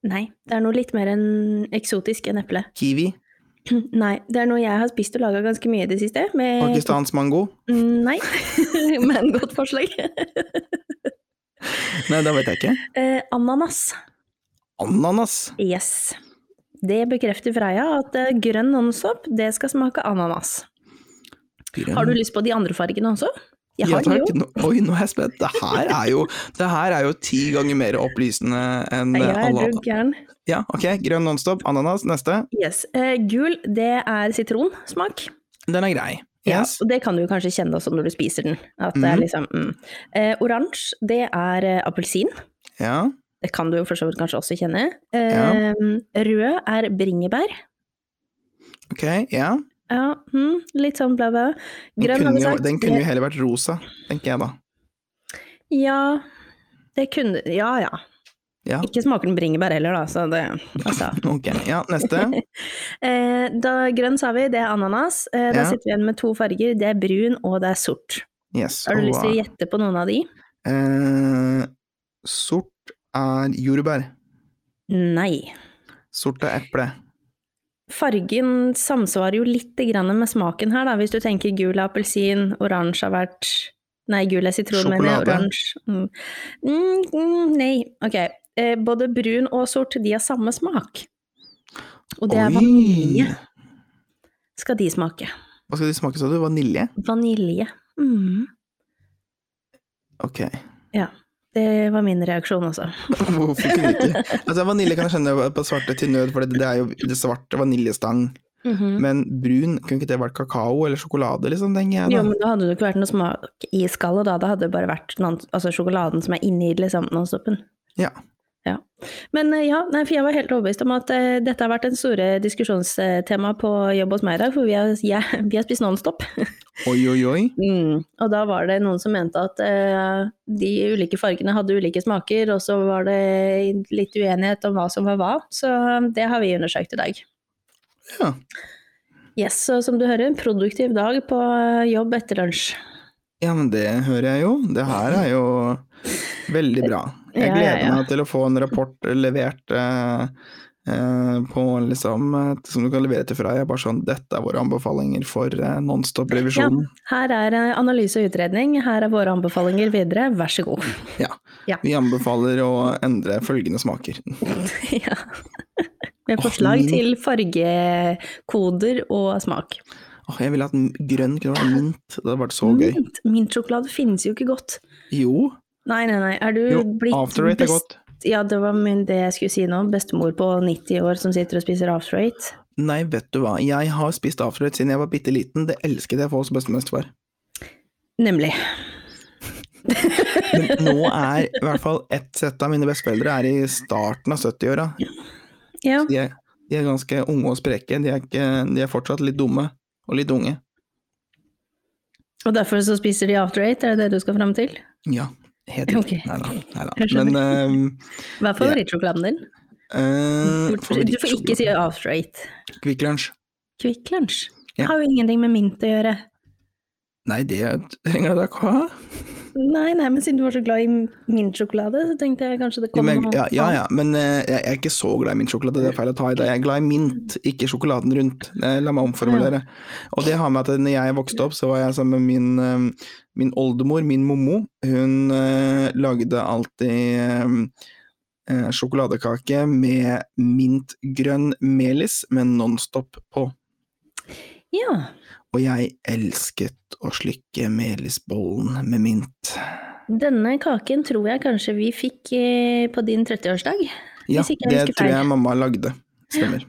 B: Nei, det er noe litt mer enn eksotisk enn eple.
A: kiwi,
B: Nei, det er noe jeg har spist og laga ganske mye i det siste. Med... Mm,
A: pakistansk mango.
B: Nei, men godt forslag.
A: Nei, da vet jeg ikke.
B: Eh, ananas.
A: Ananas.
B: Yes. Det bekrefter Freia at eh, grønn nonstop, det skal smake ananas. Har du lyst på de andre fargene også? Jeg
A: Ja,
B: har
A: takk.
B: jo.
A: Nå, oi, nå er jeg spent. Det her er jo, det her er jo ti ganger mer opplysende enn
B: Nei,
A: eh,
B: Jeg
A: alle
B: er
A: andre.
B: du gæren.
A: Ja, ok, grønn nonstop, ananas, neste.
B: Yes. Eh, gul, det er sitronsmak.
A: Den er grei.
B: Ja,
A: Yes.
B: og det kan du kanskje kjenne også når du spiser den. At det er
A: Mhm.
B: liksom mm. eh, Oransje, det er eh, appelsin.
A: Ja.
B: Det kan du jo for så vidt kanskje også kjenne.
A: Ja.
B: Eh, Rød er bringebær.
A: ok, ja.
B: Ja, mm, litt sånn bla, bla.
A: Den
B: Grønn
A: kunne,
B: hadde
A: jo,
B: sagt
A: den kunne jo heller vært rosa, tenker jeg da.
B: Ja, det kunne Ja ja.
A: Ja.
B: Ikke smaker den bringebær heller, da, så det altså.
A: Ok, ja, neste.
B: eh, da, Grønn sa vi, det er ananas. Eh, Da
A: Ja.
B: sitter vi igjen med to farger. Det er brun og det er sort.
A: Yes.
B: Har du
A: og,
B: lyst til å gjette på noen av de?
A: eh, sort er jordbær.
B: Nei.
A: Sort er eple.
B: Fargen samsvarer jo litt grann med smaken her, da. Hvis du tenker gul er appelsin, oransje har vært Nei, gul er sitron, mener jeg.
A: Sjokolade.
B: Oransje mm. Mm, mm, Nei, ok. Eh, både brun og sort, de har samme smak. Og det er
A: Oi.
B: vanilje skal de smake.
A: Hva skal de smake, sa du? Vanilje?
B: Vanilje. Mm.
A: Ok.
B: Det var min reaksjon også.
A: Hvorfor kunne ikke? Altså, vanilje kan jeg skjønne på svarte til nød, for det, det er jo det svarte vaniljestang.
B: Mhm.
A: Men brun, kunne ikke det vært kakao eller sjokolade, liksom, tenker jeg
B: Jo,
A: da.
B: men da hadde det ikke vært noe smak i skallet, da. Da hadde det bare vært non, altså, sjokoladen som er inni liksom, nonstopen.
A: Ja.
B: Ja. Men eh, ja, nei, for jeg var helt overbevist om at eh, dette har vært en store diskusjonstema på jobb hos meg i dag, for vi har, jeg, vi har spist Nonstop.
A: Oi, oi, oi. Mm.
B: Og da var det noen som mente at eh, de ulike fargene hadde ulike smaker, og så var det litt uenighet om hva som var hva. Så eh, det har vi undersøkt i dag.
A: Ja.
B: Yes, så som du hører, en produktiv dag på eh, jobb etter lunsj.
A: ja, men det hører jeg jo. Det her er jo veldig bra. Jeg
B: Ja, ja,
A: gleder
B: ja.
A: meg til å få en rapport levert eh, eh, på liksom, eh, som du kan levere til Freia. Bare sånn, dette er våre anbefalinger for eh, nonstop-revisjonen.
B: Her er eh, analyse og utredning, her er våre anbefalinger videre, vær så god.
A: Vi anbefaler å endre følgende smaker.
B: ja. Med forslag
A: min-
B: til fargekoder og smak.
A: Åh, jeg ville hatt m- grønn kunne vært mint. Det hadde vært så gøy.
B: Mint- Mintsjokolade finnes jo ikke godt.
A: Jo,
B: Nei, nei, nei. Er du
A: jo
B: Eh, blitt
A: after eight er
B: best-
A: godt.
B: Ja, det var min- det jeg skulle si nå. Bestemor på 90 år som sitter og spiser after eight.
A: Nei, vet du hva. Jeg har spist after eight siden jeg var bitte liten. Det elsket jeg å få hos bestemor og bestefar.
B: Nemlig.
A: Men nå er i hvert fall ett sett av mine besteforeldre er i starten av 70-åra.
B: Ja.
A: De, er- de er ganske unge og spreke. De er, ikke, de er fortsatt litt dumme og litt unge.
B: Og derfor så spiser de after eight, er det det du skal fram til?
A: Ja, helt riktig.
B: Ok.
A: Neida, neida.
B: Jeg skjønner.
A: Men
B: Hva er favorittsjokoladen din?
A: eh, eh,
B: Du får ikke si after eight.
A: Kvikk Lunsj.
B: Kvikk Lunsj.
A: Ja.
B: Har jo ingenting med mint å gjøre.
A: Nei, det trenger jeg ikke å ha.
B: Nei, nei, men siden du var så glad i mintsjokolade, så tenkte jeg kanskje det kom
A: Men,
B: noe
A: ja, ja, ja, men eh, jeg jeg er ikke så glad i mintsjokolade, det er feil å ta i det. Jeg er glad i mint, ikke sjokoladen rundt. Eh, La meg omformulere. Og det har med at når jeg vokste opp, så var jeg sammen med min, eh, min oldemor, min mommo. Hun eh, lagde alltid eh, eh, sjokoladekake med mintgrønn melis med Nonstop på.
B: Ja.
A: Og jeg elsket å slikke melisbollen med mint.
B: Denne kaken tror jeg kanskje vi fikk eh, på din Eh, 30-årsdag.
A: Ja,
B: Hvis ikke jeg
A: det
B: husker
A: tror
B: feil.
A: jeg mamma lagde. Stemmer.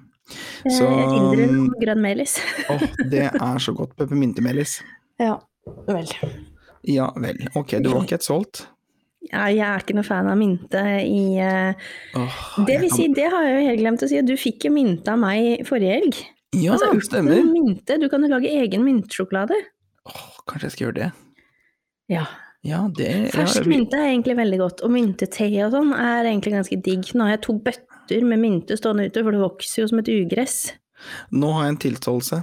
B: Eh,
A: Så- mm,
B: Et indre og grønn melis.
A: Åh, det er så godt. Peppermyntemelis.
B: Ja, vel.
A: Ja vel. Ok, du var ikke helt solgt?
B: jeg er ikke noe fan av minte i eh,
A: Åh,
B: Det
A: jeg
B: vil
A: kan-
B: si, det har jeg jo helt glemt å si, at du fikk jo minte av meg forrige helg.
A: Ja,
B: Altså, uten
A: stemmer.
B: Minte, du kan jo lage egen myntsjokolade.
A: Åh, kanskje jeg skal gjøre det.
B: Ja.
A: Ja, det ja,
B: Fersk
A: vi-
B: mynte er egentlig veldig godt, og myntete og sånn er egentlig ganske digg. Nå har jeg to bøtter med mynte stående ute, for det vokser jo som et ugress.
A: Nå har jeg en tilståelse.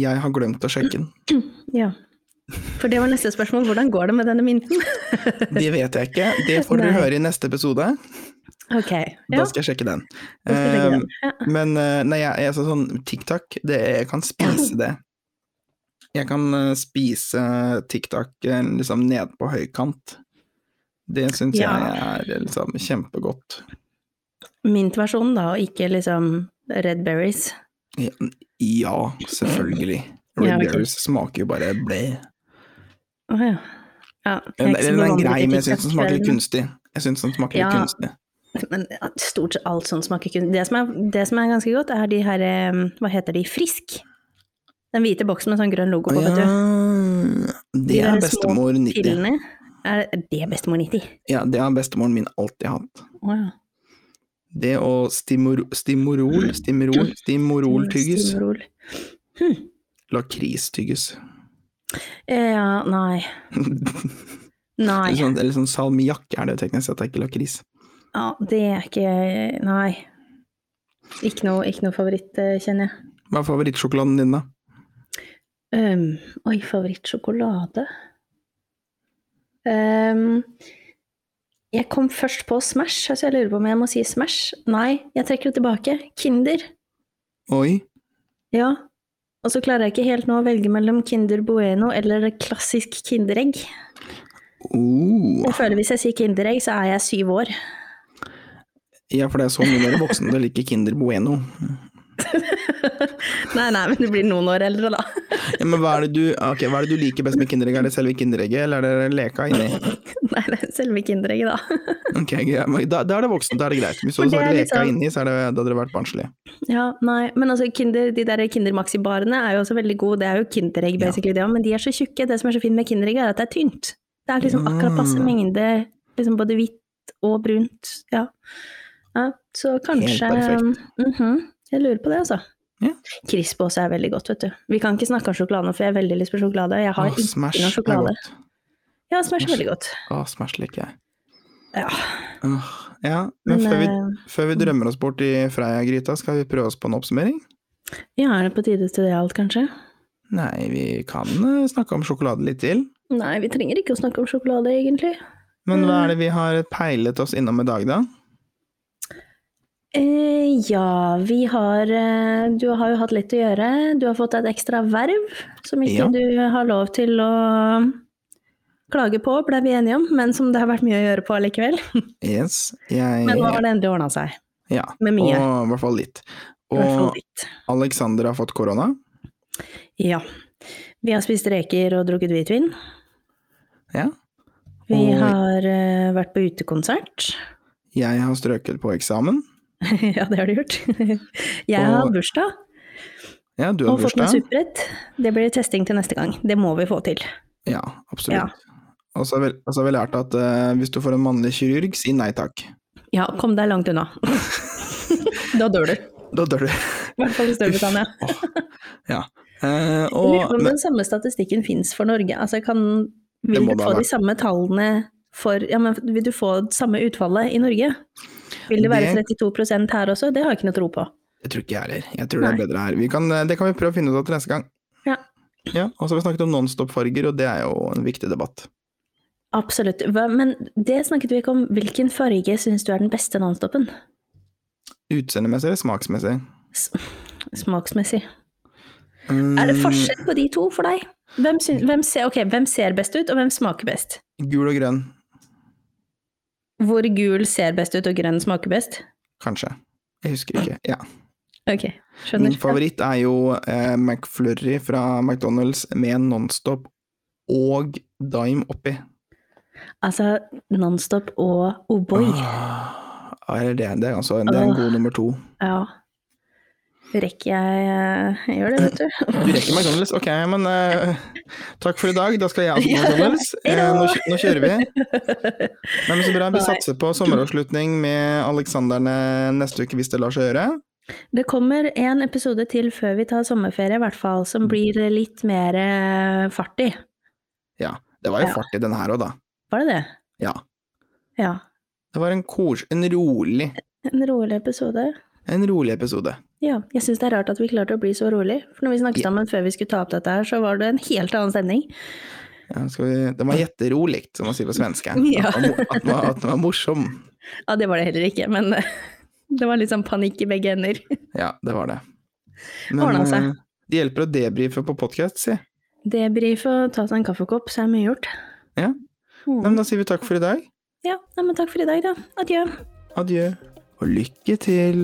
A: Jeg har glemt å sjekke den.
B: Ja. For det var neste spørsmål, hvordan går det med denne mynten?
A: Det vet jeg ikke. Det får dere
B: Nei.
A: høre i neste episode.
B: Ok, ja.
A: Da skal jeg sjekke den.
B: Da skal jeg legge
A: Eh,
B: den. Ja.
A: Men eh, nei, jeg, jeg sa sånn TikTok, det, jeg kan spise det. Jeg kan eh, spise TikTok eh, liksom ned på høykant. Det syns
B: Ja.
A: jeg er liksom kjempegodt.
B: Ehm, Myntversjonen da, og ikke liksom red berries.
A: Ja, ja selvfølgelig.
B: Ja, ok.
A: Redberries smaker jo bare ble.
B: Å ja. ja. jeg
A: Eller den
B: ikke så
A: er sånn
B: bevandret
A: grei,
B: i
A: men jeg syns den smaker litt
B: TikTok-verden.
A: kunstig. Jeg syns den smaker litt
B: Ja.
A: kunstig.
B: Men ja, stort sett alt sånt smaker kun det som, er, det som er ganske godt, er de her eh, Hva heter de? Frisk? Den hvite boksen med sånn grønn logo på, vet du.
A: Ja, det
B: De der
A: er
B: små
A: bestemor 90.
B: Pillene. Er det bestemor 90?
A: Ja, det har bestemoren min alltid hatt.
B: Å ja.
A: Det å stimor, stimorol, stimorol,
B: Mm,
A: stimoroltyggis,
B: Stimrol.
A: lakristyggis.
B: Eh, Ja, nei. Nei.
A: Eller sånn, eller sånn salmiakk er det jo teknisk sett, det er ikke lakris.
B: Ja, det er ikke Nei. Ikke noe, ikke noe favoritt, eh, kjenner jeg.
A: Hva er favorittsjokoladen din, da?
B: Øhm, Ehm, oi, favorittsjokolade Øhm, Jeg kom først på Smash, så jeg lurer på om jeg må si Smash. Nei, jeg trekker det tilbake. Kinder.
A: Oi,
B: Ja. Og så klarer jeg ikke helt nå å velge mellom Kinder Bueno eller klassisk Kinderegg.
A: oh.
B: Jeg føler hvis jeg sier Kinderegg, så er jeg syv år.
A: Ja, for det er så mye mer voksen til å like Kinder Bueno.
B: nei, nei, men du blir noen år eldre, da.
A: Ja, men hva er, det du, ah, ok, hva er det du liker best med Kinderegg? Er det selve Kinderegget, eller er det leka inni?
B: Nei, det er selve Kinderegget, da.
A: Ok, greit. Men Da, da er det voksen, da er det greit. Hvis du
B: For det
A: hadde sagt
B: er
A: leka
B: liksom-
A: inni, så er det, da hadde det vært barnslig.
B: Ja, nei, men altså kinder, de der Kinder Maxi-barene er jo også veldig gode. Det er jo Kinderegg,
A: Ja.
B: basically, det også, men de er så tjukke. Det som er så fint med Kinderegg, er at det er tynt. Det er liksom akkurat passe
A: Mm.
B: mengde, liksom både hvitt og brunt. Ja. ja så kanskje
A: perfekt.
B: mhm, Jeg lurer på det, altså.
A: Ja.
B: Crisp også er veldig godt, vet du. Vi kan ikke snakke om sjokolade nå, for jeg har veldig lyst på sjokolade. Jeg har
A: Åh,
B: ikke
A: smash
B: noe
A: er
B: sjokolade.
A: godt.
B: Ja, Smash er
A: Smash.
B: veldig godt.
A: Åh, smash liker jeg.
B: Ja.
A: Åh, ja, men,
B: Men,
A: før vi
B: eh,
A: Før vi drømmer oss bort i Freia-gryta, skal vi prøve oss på en oppsummering?
B: ja, er det på tide til det alt, kanskje?
A: Nei, vi kan eh, snakke om sjokolade litt til.
B: Nei, vi trenger ikke å snakke om sjokolade, egentlig.
A: Men hva er det vi har peilet oss innom i dag, da?
B: Eh, ja, vi har eh, Du har jo hatt litt å gjøre. Du har fått et ekstra verv som ikke
A: Ja.
B: du har lov til å klage på, ble vi enige om, men som det har vært mye å gjøre på allikevel.
A: Yes. Jeg
B: Men nå har det endelig ordna seg.
A: Ja.
B: Med
A: Og i
B: mye.
A: hvert fall litt.
B: I hvert fall
A: Og
B: litt.
A: Alexander har fått korona.
B: Ja. Vi har spist reker og drukket hvitvin.
A: Ja.
B: Vi
A: Og-
B: har eh, vært på utekonsert.
A: Jeg har strøket på eksamen.
B: ja, det har du gjort. Jeg har
A: Og-
B: bursdag
A: Ja, du har
B: og fått meg
A: bursdag.
B: supprett. Det blir testing til neste gang. Det må vi få til.
A: Ja, absolutt. Og så har vi- og så har vi lært at eh, hvis du får en mannlig kirurg, si nei takk.
B: Ja, kom deg langt unna. da dør du.
A: Da dør du.
B: I hvert fall i Storbritannia.
A: Ja. Eh,
B: Jeg lurer på
A: og,
B: om
A: men,
B: den samme statistikken fins for Norge. Altså, kan,
A: Det
B: vil
A: må
B: du
A: det
B: få
A: ha
B: de samme tallene for Ja, men vil du få samme utfallet i Norge? Vil det være 32 her også? Det har jeg ikke noe tro på.
A: jeg tror ikke jeg heller. Jeg tror det er
B: Nei.
A: bedre her. Vi kan, eh, det kan vi prøve å finne ut av til neste gang.
B: Ja.
A: Ja, og så har vi snakket om nonstop-farger, og det er jo en viktig debatt.
B: Absolutt. Hva, men det snakket vi ikke om. Hvilken farge syns du er den beste nonstopen?
A: Utseendemessig eller smaksmessig?
B: S- Smaksmessig. Er det
A: Mm,
B: forskjell på de to for deg? Hvem, syn- hvem, ser, ok, hvem ser best ut, og hvem smaker best?
A: Gul og grønn,
B: Hvor gul ser best ut, og grønn smaker best?
A: kanskje. Jeg husker ikke. Ja.
B: Ok, skjønner.
A: Min favoritt er jo eh, McFlurry fra McDonald's med en Nonstop og Dime oppi.
B: Altså Nonstop og oh O'boy.
A: Ah, er det, det, er altså, det er en god nummer to.
B: Ja. Rekker jeg eh, Jeg gjør det, vet du.
A: Du rekker McDonald's? Ok, men eh, takk for i dag. Da skal jeg også på McDonald's. Eh, nå, kjø- nå kjører vi. Nei, men så bra. Vi
B: Nei.
A: satser på sommeravslutning med Alexanderne neste uke, hvis det lar seg gjøre.
B: Det kommer en episode til før vi tar sommerferie, i hvert fall,
A: Mm.
B: som blir litt mer eh, fart i.
A: Det var jo
B: Ja.
A: fart i den her òg, da.
B: Var det det?
A: Ja.
B: Ja.
A: Det var en, kos, en, rolig,
B: En rolig episode.
A: en rolig episode.
B: Ja. Jeg syns det er rart at vi klarte å bli så rolig. For når vi snakket
A: Ja.
B: sammen før vi skulle ta opp dette her, så var det en helt annen stemning.
A: Ja, skal vi, den var jätteroligt, som man sier på svenska.
B: Ja.
A: At, den var, at, den var, at den var morsom.
B: Ja, det var det heller ikke, men eh, det var litt sånn panikk i begge ender.
A: Ja, det var det.
B: Ordna seg.
A: eh, det hjelper å debrife på podkast, si.
B: Debrif og ta seg en kaffekopp, så er mye gjort.
A: Ja.
B: Mm.
A: Nei, men Da sier vi takk for i dag.
B: Ja, nei, men takk for i dag, da. Adjø.
A: Adjø. Og lykke til.